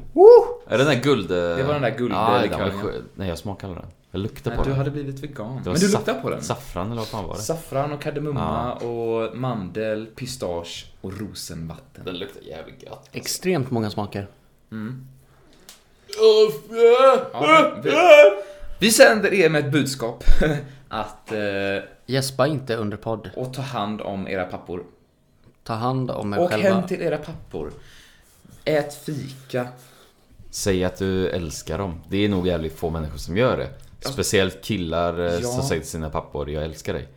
S2: Är det den där guld...
S1: Det var den där guld-
S2: Nej, den var
S1: likören, ja.
S2: skö- Nej, jag smakade aldrig den. Jag
S1: Nej,
S2: luktade på
S1: du
S2: den.
S1: hade blivit vegan.
S2: Det var
S1: Men du
S2: saff-
S1: luktade på den.
S2: Saffran eller vad fan var det?
S1: Saffran och kardemumma och mandel, pistage och rosenvatten.
S2: Den luktar jävligt gött.
S3: Extremt många smaker.
S1: Ja, vi, vi sänder er med ett budskap att eh,
S3: Gäspa inte under podd.
S1: och ta hand om era pappor.
S3: Ta hand om er
S1: Åk
S3: själva.
S1: hem till era pappor. Ät fika.
S2: Säg att du älskar dem. Det är nog jävligt få människor som gör det. Speciellt killar eh,
S1: Ja.
S2: som säger till sina pappor 'Jag älskar dig'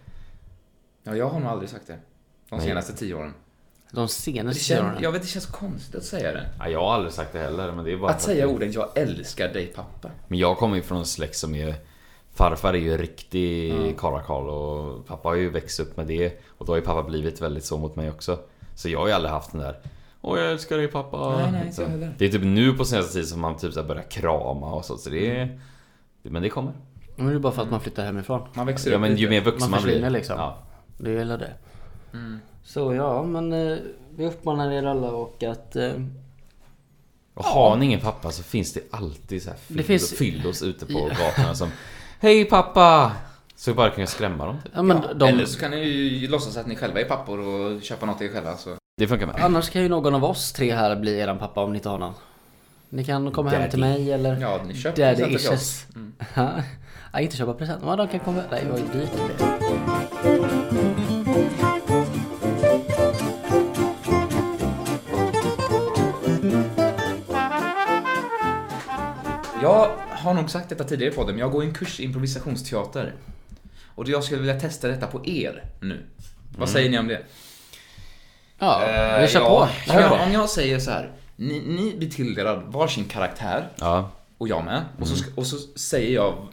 S1: Ja, jag har nog aldrig sagt det. De
S2: Nej.
S1: senaste tio åren.
S3: De
S1: Det
S3: senaste tio
S1: känns,
S3: åren.
S1: jag vet, det känns konstigt att säga det.
S2: ja, Jag har aldrig sagt det heller men det är bara
S1: Att säga orden 'Jag älskar dig pappa'
S2: Men jag kommer ju från en släkt som är Farfar är ju en riktig karakal och pappa har ju växt upp med det Och då har ju pappa blivit väldigt så mot mig också Så jag har ju aldrig haft den där Åh jag älskar dig pappa
S1: Nej, nej, inte
S2: Så-
S1: jag heller.
S2: Det är typ nu på senaste tid som man typ så här börjar krama och så, så det är... Men det kommer
S3: Men det är bara för
S1: Mm.
S3: att man flyttar hemifrån.
S1: Man växer
S2: Ja
S1: upp
S2: men
S1: lite.
S2: ju mer vuxen man,
S3: Man
S2: blir
S3: försvinner liksom.
S2: ja.
S3: Det är hela det.
S1: Mm.
S3: Så ja, men eh, vi uppmanar er alla och att... Eh,
S2: Och har ni ingen pappa så finns det alltid så här fyllo,
S3: finns-
S2: fyllos ute på gatorna som Hej pappa! Så vi bara kan skrämma dem typ.
S3: ja, men de,
S1: Eller så kan ni ju låtsas att ni själva är pappor och köpa något till er själva. Så.
S2: Det funkar med.
S3: Annars kan ju någon av oss tre här bli eran pappa om ni inte har någon. Ni kan komma hem till mig eller...
S1: Ja, ni köper
S3: Daddy
S1: presenter till oss. Mm.
S3: issues. Nej, inte köpa present. Ja, de kan komma... Nej, vad dyrt det blir.
S1: Jag har nog sagt detta tidigare i podden, men jag går en kurs i improvisationsteater. Och jag skulle vilja testa detta på er nu. Vad säger ni om det?
S3: Ja,
S2: Eh,
S3: vi kör
S2: ja.
S3: på.
S1: Om jag, om jag säger så här, ni, ni blir tilldelad varsin karaktär,
S2: Ja. Mm.
S1: och jag med, och, så, ska- och så säger jag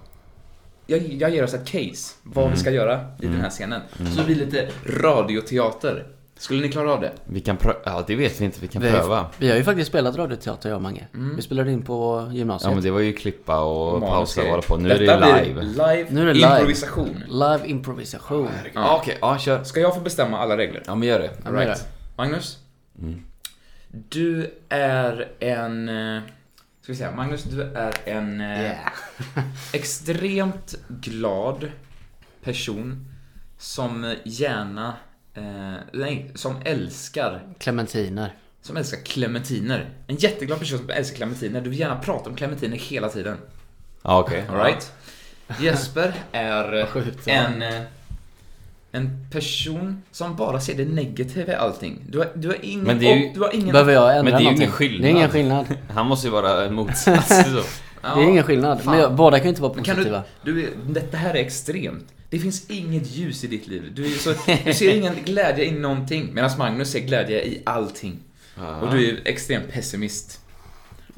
S1: jag, jag ger oss ett case, vad
S2: Mm.
S1: vi ska göra i den här scenen. Så det blir lite radioteater. Skulle ni klara av det?
S2: Vi kan pröva, ja det vet vi inte, vi kan
S3: Vi har, ju,
S2: pröva.
S3: vi har ju faktiskt spelat radioteater jag och Mange.
S1: Mm.
S3: Vi spelade in på
S2: Ja
S3: gymnasiet.
S2: men det var ju klippa och
S1: Manus
S2: pausa och
S1: grej.
S2: hålla på. Nu är
S1: Detta
S2: det
S1: Blir
S2: live.
S1: live.
S3: Nu är det live.
S1: Improvisation.
S3: Live improvisation.
S2: Ja Ah, okej, ja kör.
S1: Ska jag få bestämma alla regler?
S2: Ja men gör det.
S3: Ja, men gör
S1: Right. Magnus? Du är en... eh, Ska vi säga, Magnus, du är en eh, extremt glad person som gärna... Eh, nej, som älskar,
S3: Clementiner.
S1: som älskar clementiner. En jätteglad person som älskar clementiner. Du vill gärna prata om clementiner hela tiden.
S2: Ja okej.
S1: Alright. Jesper är en, eh, en person som bara ser det negativa i allting. Du har, du har ingen...
S2: Men det är ju-
S1: och du har ingen
S3: Behöver jag ändra
S2: Men det är ju
S3: någonting?
S2: ingen skillnad.
S3: Det är ingen skillnad.
S2: Han måste ju vara en motsats så.
S1: Ja.
S3: Det är ingen skillnad.
S1: Fan.
S3: Men jag, båda kan ju inte vara
S1: Men Kan du,
S3: positiva.
S1: du, är- detta här är extremt. Det finns inget ljus i ditt liv. Du, är så, du ser ingen glädje i någonting. Medan Magnus ser glädje i allting. Och du är ju extremt pessimist.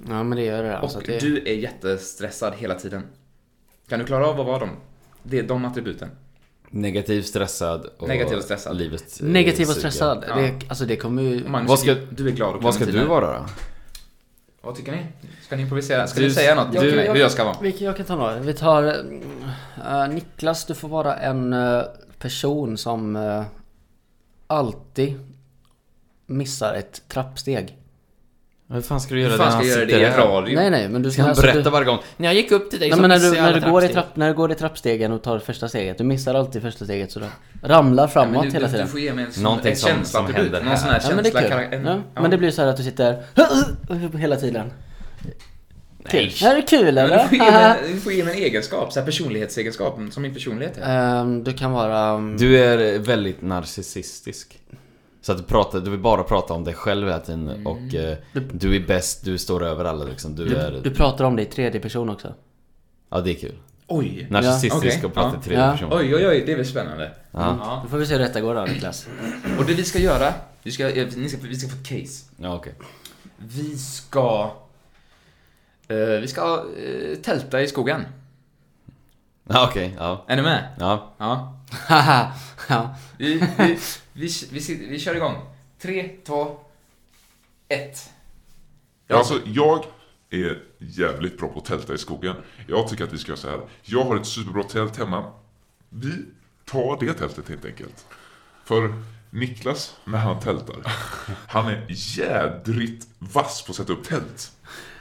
S3: Ja men det gör det.
S1: Och
S3: Alltså, det...
S1: du är jättestressad hela tiden. Kan du klara av att vara dem? Det är de attributen.
S2: Negativ, stressad och...
S1: Negativ och stressad.
S2: Livet eh,
S3: Negativ och
S2: suger.
S3: stressad.
S1: Ja.
S3: Det, alltså det kommer ju...
S1: Och Magnus,
S2: Vad ska-
S1: du är glad och
S2: Vad ska
S1: clementiner.
S2: du vara då?
S1: Vad tycker ni? Ska ni improvisera? Ska
S2: Du-
S1: du, säga något
S2: jag-
S1: till mig
S3: jag-
S1: hur jag ska vara?
S3: Vilken jag kan ta några. Vi tar... mm, eh, Niklas, du får vara en eh, person som eh, alltid missar ett trappsteg.
S2: Hur fan ska du göra
S1: Hur
S2: det när
S1: fan ska
S2: han
S1: jag göra
S2: sitter
S1: det i
S2: där?
S1: radio?
S3: Nej nej men du
S2: Ska han
S3: alltså,
S2: berätta
S3: du,
S2: varje gång? När jag gick upp till dig
S3: Nej
S2: så
S3: men när du,
S2: missade jag
S3: när, du
S2: alla
S3: går i
S2: trappsteg."
S3: trapp, när du går i trappstegen och tar första steget, du missar alltid första steget så du ramlar framåt
S1: Men du,
S3: hela
S1: du,
S3: tiden.
S1: du får ge mig en, sån,
S2: Någonting
S1: en
S2: som-
S1: känsla
S2: som
S1: att du
S2: händer
S1: Någon sån här
S3: Ja, men det
S1: känsla.
S3: är
S1: karak-
S3: kul.
S1: en-
S3: Ja,
S1: ja.
S3: Men det blir så här att du sitter hela tiden. Kul.
S2: Nej.
S3: Det här är kul
S1: Men du
S3: eller?
S1: får ge mig- Du får ge mig en egenskap, så här personlighetsegenskap, som min personlighet är.
S3: Ehm, du kan vara... mm,
S2: Du är väldigt narcissistisk. Så att du pratar, du vill bara prata om dig själv hela tiden och eh, du är bäst, du står över alla liksom. Du, är...
S3: Du pratar om det i tredje person också.
S2: Ja det är kul.
S1: Oj!
S2: Narcissistisk
S1: Okej,
S2: och pratar
S1: ja.
S2: i tredje
S3: Ja.
S2: person.
S1: Oj, oj, oj, det är väl spännande. Ja.
S3: Då får vi se hur detta går då Niklas.
S1: Och det vi ska göra, vi ska, eh, ni ska, vi ska få ett case.
S2: Ja okej.
S1: Vi ska... eh, vi ska eh, tälta i skogen.
S2: Ja okej, ja.
S1: Är ni med?
S2: Ja.
S1: Ja.
S3: Haha! ja.
S1: Vi, vi, vi, vi, vi, vi kör igång. Tre, två, ett.
S6: Ja, Alltså, jag är jävligt bra på att tälta i skogen. Jag tycker att vi ska göra så här. Jag har ett superbra tält hemma. Vi tar det tältet helt enkelt. För Niklas, när han tältar, han är jädrigt vass på att sätta upp tält.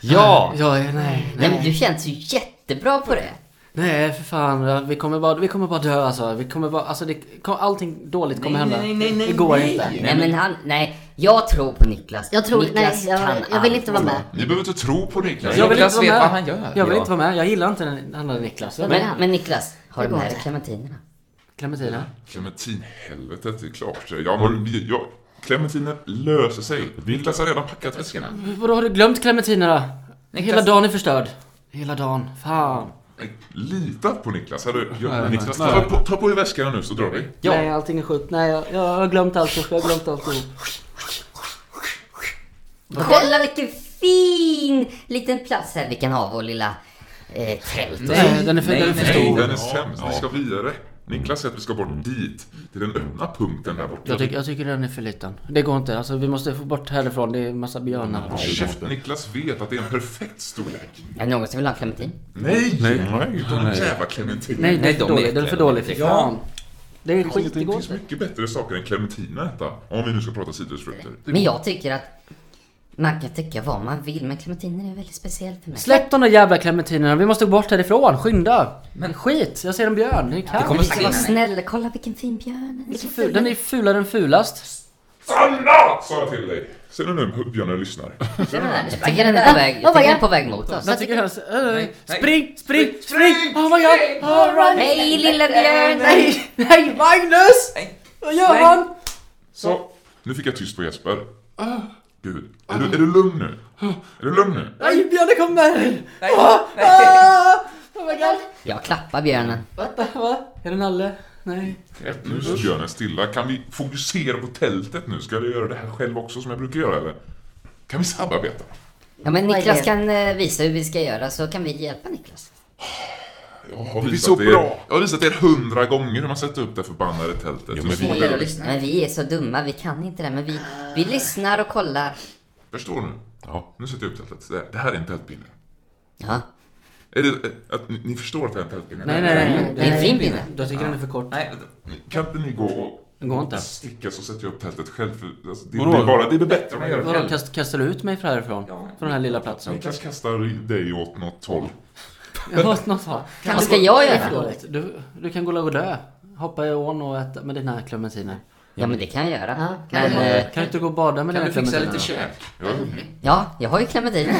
S2: Ja!
S3: Ja, ja, nej,
S7: Nej men
S3: nej.
S7: du känns ju jättebra på det.
S3: Nej, för fan. ja, Vi kommer bara, vi kommer bara dö alltså. Vi kommer bara, alltså det, kom- allting dåligt kommer hända.
S1: nej, nej, nej,
S3: det går
S1: nej.
S3: inte.
S7: Nej men han, nej. Jag tror på Niklas. Jag tror,
S3: Niklas
S7: nej
S3: kan
S7: jag, jag vill
S3: allt.
S7: inte vara med.
S6: Ni behöver inte tro på Niklas.
S3: Jag vill
S1: Niklas
S3: inte vara
S1: vet
S3: med.
S1: vad han gör.
S3: Jag vill
S2: Ja.
S3: inte vara med. Jag gillar inte den andra Niklas. Jag
S7: Men, men Niklas, har
S3: Det
S7: du med
S3: går
S7: dig clementinerna?
S3: Clementina.
S6: Clementinhelvetet, det är klart. Ja, men, jag, Clementiner löser sig. Niklas har redan packat väskorna.
S3: Vadå, har du glömt Clementina då? Hela
S1: Niklas-
S3: dagen är förstörd. Hela dagen. Fan.
S6: Lita på Niklas. Hade, jag, Niklas, ta på, ta på er väskorna nu så drar vi.
S3: Nej, allting är skjut. Nej, jag, jag har glömt allt. Jag har glömt allt.
S7: Kolla vilken fin liten plats här vi kan ha vår lilla eh, tält.
S3: Nej, den är för,
S1: nej,
S3: den är för
S1: nej.
S3: stor.
S6: Den är sämst, vi ska vidare. Niklas säger att vi ska bort dit, till den öppna punkten där borta.
S3: Jag, tycker- jag tycker den är för liten. Det går inte. Alltså, vi måste få bort härifrån. Det är massa björnar.
S6: Käft, Niklas vet att det är en perfekt storlek.
S7: Är det någon som vill ha en clementin?
S6: Nej! Nej, de jävla clementiner.
S3: Nej, den
S1: Nej, de är
S3: är för dålig. Den är för dålig. Fy
S1: äckliga.
S3: fan. Det är
S6: Alltså, Det
S3: skit. Det går
S6: finns
S3: inte.
S6: mycket bättre saker än clementiner att äta, om vi nu ska prata citrusfrukter.
S7: Men jag tycker att man kan tycka vad man vill men clementiner är väldigt speciell för mig.
S3: Släpp de där jävla clementinerna. Vi måste gå bort härifrån. Skynda. Men skit. Jag ser en björn. Det är kallt.
S7: Men vi ska vara snälla, kolla vilken fin björn. Den är så
S3: Ful-
S7: ful.
S3: Den är fulare än fulast.
S6: Sanna! Sa jag till dig. Ser du nu hur björnen lyssnar?
S7: Ser du den här? Jag tycker den är på väg, jag tycker den är på väg mot oss.
S3: Jag tycker den... Spring,
S1: Nej, nej.
S3: spring, spring! Oh my god! Oh, run.
S7: Hej lilla björn!
S3: Nej, nej, Magnus!
S1: Nej.
S3: Vad gör han?
S6: Så, nu fick jag tyst på Jesper. Gud, är du, är du lugn nu? Är du lugn nu?
S3: Nej, björnen kommer!
S1: Nej,
S3: Ah,
S1: nej.
S3: ah, Oh my god!
S7: Jag klappar björnen.
S3: Vänta, va? Är det Nalle? Nej.
S6: Nu är björnen stilla. Kan vi fokusera på tältet nu? Ska jag göra det här själv också som jag brukar göra eller? Kan vi samarbeta?
S7: Ja men
S8: Vad är
S7: Niklas
S8: det?
S7: kan eh, visa hur vi ska göra så kan vi hjälpa Niklas.
S6: Jag har
S8: Det är
S6: visat
S8: så
S6: er,
S8: bra.
S6: Jag har visat er hundra gånger hur man sätter upp det förbannade tältet.
S8: men
S6: Hur
S8: vi-
S6: svårt
S7: Vi,
S6: är det?
S7: lyssnar. Men vi är så dumma, vi kan inte det. Men vi, vi lyssnar och kollar.
S6: Förstår du?
S8: Ja.
S6: Nu sätter jag upp tältet. Det här- Det här är en tältpinne.
S7: Ja.
S6: Är det, eh, att, ni, ni förstår att det är en tältpinne?
S3: Nej, nej, nej.
S7: Det är en fin pinne.
S3: Jag tycker den är för kort.
S1: Nej,
S6: Kan inte ni gå och
S3: Den går inte.
S6: sticka så sätter jag upp tältet själv? För, alltså, det, det,
S8: Vadå?
S6: är bara, det är bättre om jag gör det
S3: Vadå,
S6: själv.
S3: kast, kastar du ut mig från härifrån?
S1: Ja.
S3: Från den här lilla platsen?
S6: Niklas kastar dig åt något håll.
S3: Jag har något svar.
S7: Vad ska jag göra?
S3: Dåligt. Du, du kan gå och dö. Hoppa i ån och äta med dina clementiner.
S7: Ja, men det kan jag göra.
S5: kan
S7: men, eh,
S3: Kan du inte gå och bada med
S1: kan
S3: dina
S1: du fixa
S3: clementiner?
S1: lite käk?
S6: Jag är hungrig.
S7: ja, jag har ju clementiner.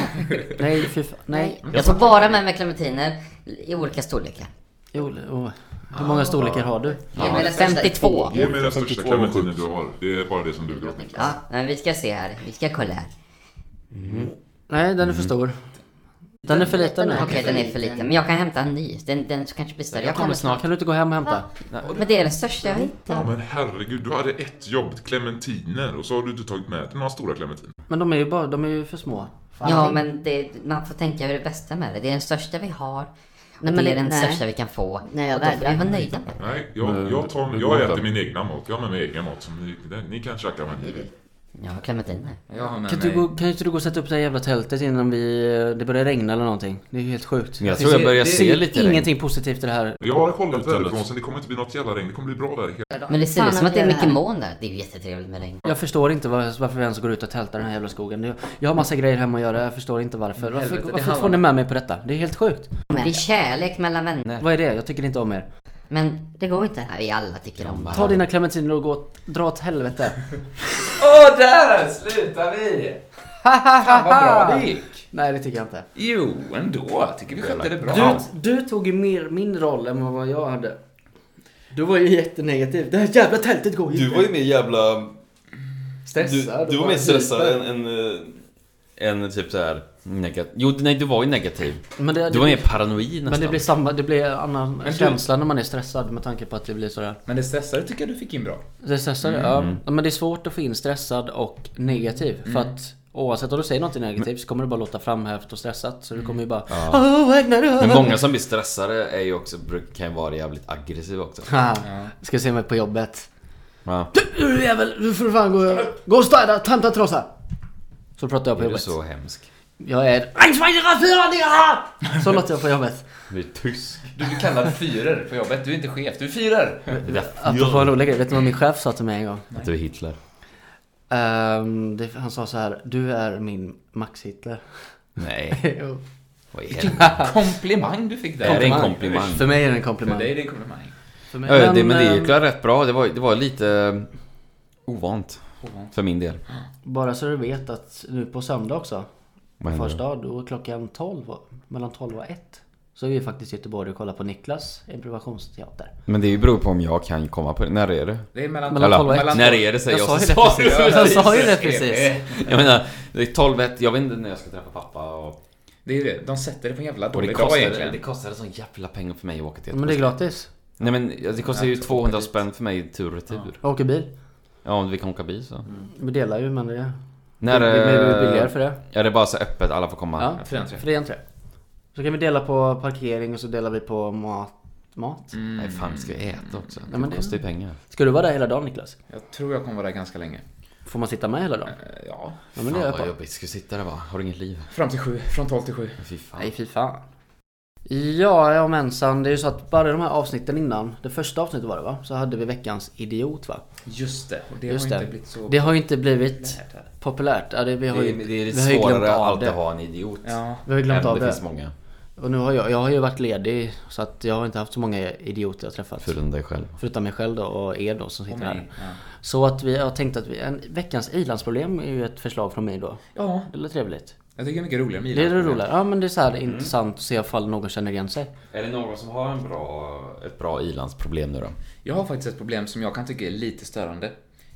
S3: Nej, fy fan. Nej.
S7: Jag tar bara med mig clementiner i olika storlekar.
S3: Jo, oh. Hur många storlekar har du?
S7: Ja, 52.
S6: Ge mig den största
S8: 52 var
S6: clementinen du har. Det är bara det som duger åt Niklas.
S7: Ja, men vi ska se här. Vi ska kolla här.
S3: Nej, den är för stor. Den är för liten nu.
S7: Okej, den är för liten. Men jag kan hämta en ny. Den, den som kanske blir större. Jag kommer snart.
S3: Kan du inte gå hem och hämta?
S7: Men det är den största jag har
S6: Ja,
S7: hittat.
S6: men herregud, du hade ett jobb, clementiner, och så har du inte tagit med dig några stora clementiner.
S3: Men de är ju bara, de är ju för små.
S7: Ja, men det, man får tänka hur det bästa med det. Det är den största vi har. Och det är den
S9: nej.
S7: största vi kan få.
S9: Nej, jag
S7: och då får vi
S9: vägrar.
S7: vara nöjda med det.
S6: Nej, jag, jag, tar, jag äter min egna mat. Jag har med mig egen mat. Som ni, den- ni kan käka vad ni vill.
S7: Jag har clementiner.
S1: Jag har med
S3: Kan inte, du
S1: mig...
S3: gå, kan inte du gå och sätta upp det här jävla tältet innan vi, det börjar regna eller någonting? Det är ju helt sjukt.
S2: Jag tror jag börjar
S1: Det-
S2: se lite regn.
S3: Ingenting positivt i det här.
S6: Jag har kollat väderprognosen. Det kommer inte bli något jävla regn. Det kommer bli bra väder. hela-
S7: Men det ser
S9: Fan
S7: ut som att det är
S9: jag
S7: mycket moln där. Det är ju jättetrevligt med regn.
S3: Jag förstår inte var, varför vi ens går ut och tältar i den här jävla skogen. Jag, jag har massa grejer hemma att göra, jag förstår inte varför. Varför,
S1: Helvete, det
S3: varför
S1: handlar
S3: får ni
S1: om-
S3: med mig på detta? Det är helt sjukt.
S7: Det är kärlek mellan vänner.
S3: Vad är det? Jag tycker inte om er.
S7: Men det går inte. Vi alla tycker om
S3: Ta
S7: varandra.
S3: dina clementiner och gå åt, dra åt helvete.
S1: Åh, där slutar vi! Fan vad bra det gick!
S3: Nej det tycker jag inte.
S1: Jo, ändå. Tycker vi skötte det bra.
S3: Du, du tog ju mer min roll än vad jag hade. Du var ju jättenegativ. Det här jävla tältet går ju
S10: Du var ju mer jävla...
S3: stressad.
S10: Du,
S3: och
S10: du var
S3: bara
S10: mer stressad
S3: hyper.
S10: än, än, eh, än typ såhär...
S2: Negat- Jo, nej du var ju negativ.
S3: Men det,
S2: Du var mer paranoid nästan.
S3: men det blir samma, det blir annan
S1: du-
S3: känsla när man är stressad med tanke på att det blir sådär.
S1: Men det stressade tycker jag du fick in bra.
S3: Det är stressad,
S2: Mm.
S3: ja. Men det är svårt att få in stressad och negativ.
S2: Mm.
S3: För att oavsett om du säger något negativt så kommer det bara låta framhävt och stressat. Så du kommer ju bara... "Åh, vad ägnar du åt?"
S2: Mm. Men många som blir stressade är ju också, bruk- kan ju vara jävligt aggressiva också.
S3: Ha, Typ. Ska se mig på jobbet.
S2: Ja.
S3: Du jävel, du får fan gå Gå och städa, hämta en trasa! Så pratar jag på
S2: Är du
S3: jobbet.
S2: så hemsk?
S3: Jag är... Ein, zwei, drei, fyra, nio! Så låter jag på jobbet.
S2: Du är tysk.
S1: Du blir kallad fyrer på jobbet. Du är inte chef, du är fyrer!
S2: Det är därför
S3: Apropå en rolig grej, vet du vad min chef sa till mig en gång?
S2: att du är Hitler.
S3: Ehm, det, han sa så här, du är min Max-Hitler.
S2: Nej,
S3: Jo.
S2: vad i helvete.
S1: Komplimang du fick
S2: Det här är
S1: där.
S2: en komplimang.
S3: För mig är det en
S1: För
S3: komplimang.
S1: dig är det en komplimang.
S3: För mig-
S2: Ja, det, men det
S3: ehm,
S2: gick väl rätt bra. Det var, det var lite eh, ovant. För min del.
S3: Bara så du vet att nu på söndag också.
S2: Vad händer
S3: Första dag, då är klockan 12. och- Mellan 12 och 1. Så är vi faktiskt i Göteborg och kollar på Niklas improvisationsteater.
S2: Men det beror på om jag kan komma på det. När är det?
S1: Det är mellan...
S3: Mellan
S2: Eller,
S3: tolv och ett.
S2: När är det säger jag.
S3: sa ju
S2: så sa du
S3: det precis. Jag sa ju det
S1: Eh,
S3: precis.
S1: eh.
S2: Jag menar, det är 12 ett, jag vet inte när jag ska träffa pappa och...
S1: Det är det. De sätter det på en jävla
S2: Och det
S1: dålig dag
S2: kostade, det
S1: egentligen.
S2: kostade sån jävla pengar för mig att åka till
S3: Men det är
S2: Göteborg.
S3: gratis.
S2: Nej men det kostar ju 200 spänn för mig tur och retur.
S3: Jag åker bil.
S2: Ja, om vi kan åka bil så.
S3: Vi delar ju men det är...
S2: När
S3: det blir
S2: eh,
S3: billigare för det.
S2: Är det bara så öppet, alla får komma?
S3: Ja,
S1: Fri entré.
S3: fri entré. Så kan vi dela på parkering och så delar vi på mat. Mat?
S2: Nej fan, vi ska ju äta också. Det
S3: men det-
S2: kostar ju pengar.
S3: Ska du vara där hela dagen Niklas?
S1: Jag tror jag kommer vara där ganska länge.
S3: Får man sitta med hela dagen?
S1: Eh, Ja.
S3: Ja men det
S2: fan
S3: gör jag
S2: vad
S3: på.
S2: jobbigt, ska du sitta där bara? Har du inget liv?
S1: Fram till sju. Från 12 till sju.
S2: Fy fan.
S3: Nej fy fan. Ja, ja mensan. Det är ju så att bara de här avsnitten innan, det första avsnittet var det va? Så hade vi veckans idiot va?
S1: Just det. Och det
S3: Just
S1: har inte
S3: det.
S1: blivit så...
S3: Det har ju inte blivit
S1: populärt här.
S3: populärt. Ja, det, vi har
S2: Det
S3: ju,
S2: är, det är lite
S3: vi har ju glömt
S2: svårare att
S3: av
S2: alltid
S3: det.
S2: ha en idiot.
S1: Ja.
S3: Vi har ju glömt
S2: Även om
S3: av
S2: det, finns
S3: det.
S2: många.
S3: Och nu har jag, jag har ju varit ledig så att jag har inte haft så många idioter jag träffat.
S2: Förutom dig själv.
S3: Förutom mig själv då och er då som sitter här.
S1: Nej. Ja.
S3: Så att vi har tänkt att vi, en, veckans ilandsproblem är ju ett förslag från mig då.
S1: ja.
S3: Det låter trevligt.
S1: Jag tycker det är mycket roligare med
S3: Det är det
S1: idrott.
S3: roligare. Ja men det är så här
S2: Mm.
S3: intressant att se ifall någon känner igen sig.
S2: Är det någon som har en bra, ett bra ilandsproblem nu då?
S1: Jag har faktiskt ett problem som jag kan tycka är lite störande.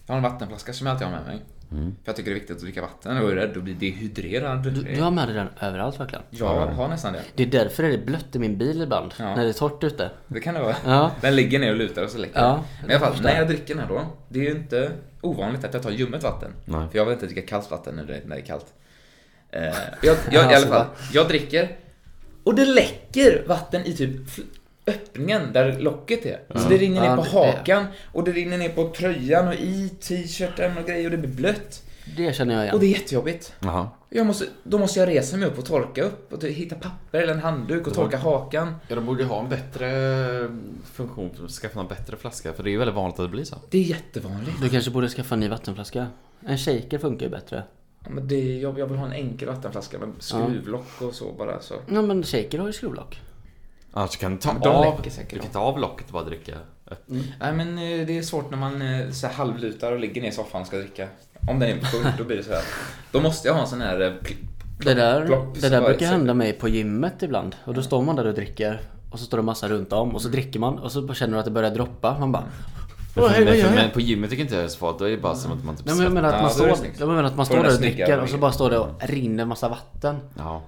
S1: Jag har en vattenflaska som jag alltid har med mig. För jag tycker det är viktigt att dricka vatten och är rädd att bli dehydrerad.
S3: Mm. Du, du har med dig den överallt verkligen.
S1: Jag har nästan det.
S3: Det är därför det är blött i min bil ibland.
S1: Ja.
S3: När det är torrt ute.
S1: Det kan det vara.
S3: Ja.
S1: Den ligger ner och lutar och så läcker
S3: Ja,
S1: Men i alla fall, när jag dricker den här då. Det är ju inte ovanligt att jag tar ljummet vatten.
S2: Nej.
S1: För jag vill inte dricka kallt vatten när det, när det är kallt. Eh,
S3: Alltså,
S1: jag, jag, I alla fall, jag dricker. Och det läcker vatten i typ fl- öppningen där locket är. Så det rinner ner
S3: Ja,
S1: på
S3: det- det-
S1: hakan och det rinner ner på tröjan och i t-shirten och grejer och det blir blött.
S3: Det känner jag igen.
S1: Och det är jättejobbigt.
S2: Jaha.
S1: Jag måste, då måste jag resa mig upp och torka upp och typ hitta papper eller en handduk och torka hakan.
S2: Ja, de borde ha en bättre eh, funktion, skaffa en bättre flaska. För det är ju väldigt vanligt att det blir så.
S1: Det är jättevanligt.
S3: Du kanske borde skaffa en ny vattenflaska. En shaker funkar ju bättre.
S1: Ja, men det, jag, jag vill ha en enkel vattenflaska med skruvlock och så bara. Så.
S3: Ja men shaker har ju skruvlock.
S2: Annars kan du ta
S1: de
S2: av,
S1: läcker
S2: du
S1: säkert
S2: kan
S1: av.
S2: ta av locket och bara dricka.
S3: Mm.
S1: Nej men eh, det är svårt när man eh, så här halvlutar och ligger ner i soffan och ska dricka. Om den är full då blir det så här. Då måste jag ha en sån här... eh, pl-
S3: Det där,
S1: plopp,
S3: det
S1: så
S3: där
S1: bara-
S3: brukar hända mig på gymmet ibland. Och då står man där och dricker. Och så står det massa runt om och så
S1: Mm.
S3: dricker man och så bara känner du att det börjar droppa. Man bara... Åh, hej, vad
S2: men,
S3: gör jag?
S2: men på gymmet tycker jag inte det är så farligt. Då är det bara som att man typ
S3: Nej, men jag menar att
S1: Ja,
S3: man
S1: då är det
S3: står,
S1: snyggt.
S3: jag menar att man
S1: Får
S3: står
S1: den
S3: där och
S1: snyggare
S3: dricker och så
S1: grejen.
S3: bara står det och rinner massa vatten
S2: Ja.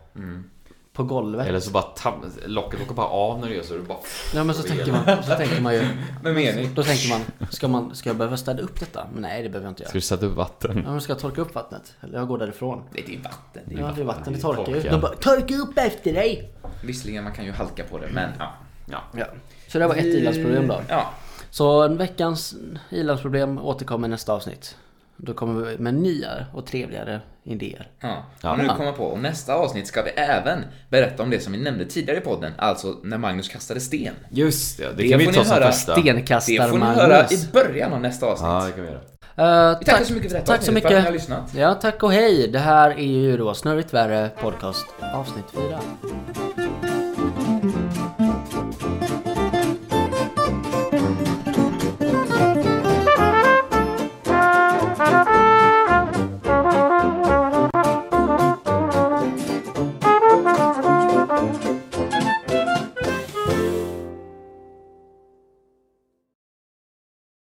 S3: på golvet.
S2: Eller så bara tam, locket åker bara av när du gör så. Du bara...
S3: Ja men så tänker man, så tänker man ju.
S1: Med mening.
S3: Då tänker man, ska, man, ska jag behöva städa upp detta? Men nej det behöver jag inte göra.
S2: Ska du sätta upp vatten?
S3: Ja, men ska jag torka upp vattnet? Eller jag går därifrån.
S1: Nej, det är vatten. Det är...
S3: Ja det är vatten, det torkar ju.
S2: torkar.
S3: De bara, torka upp efter dig!
S1: Visserligen man kan ju halka på det men ja.
S3: Ja. Så det var ett i-landsproblem då.
S1: Ja.
S3: Så en veckans i-landsproblem återkommer i nästa avsnitt. Då kommer vi med nyare och trevligare idéer.
S1: Ja. Och nu kommer jag på, och nästa avsnitt ska vi även berätta om det som vi nämnde tidigare i podden, alltså när Magnus kastade sten.
S2: Just det, det,
S1: Det
S2: kan vi
S1: får
S2: ta
S1: ni
S2: som
S1: höra.
S2: första.
S1: Det får ni
S3: Stenkastar-Magnus.
S1: höra i början av nästa avsnitt.
S2: Ja, det kan vi göra.
S3: Eh,
S1: Vi tackar så mycket för detta
S3: Tack så
S1: avsnitt, för att
S3: mycket.
S1: ni har lyssnat.
S3: Ja, tack och hej. Det här är ju då Snurrigt Värre Podcast avsnitt 4.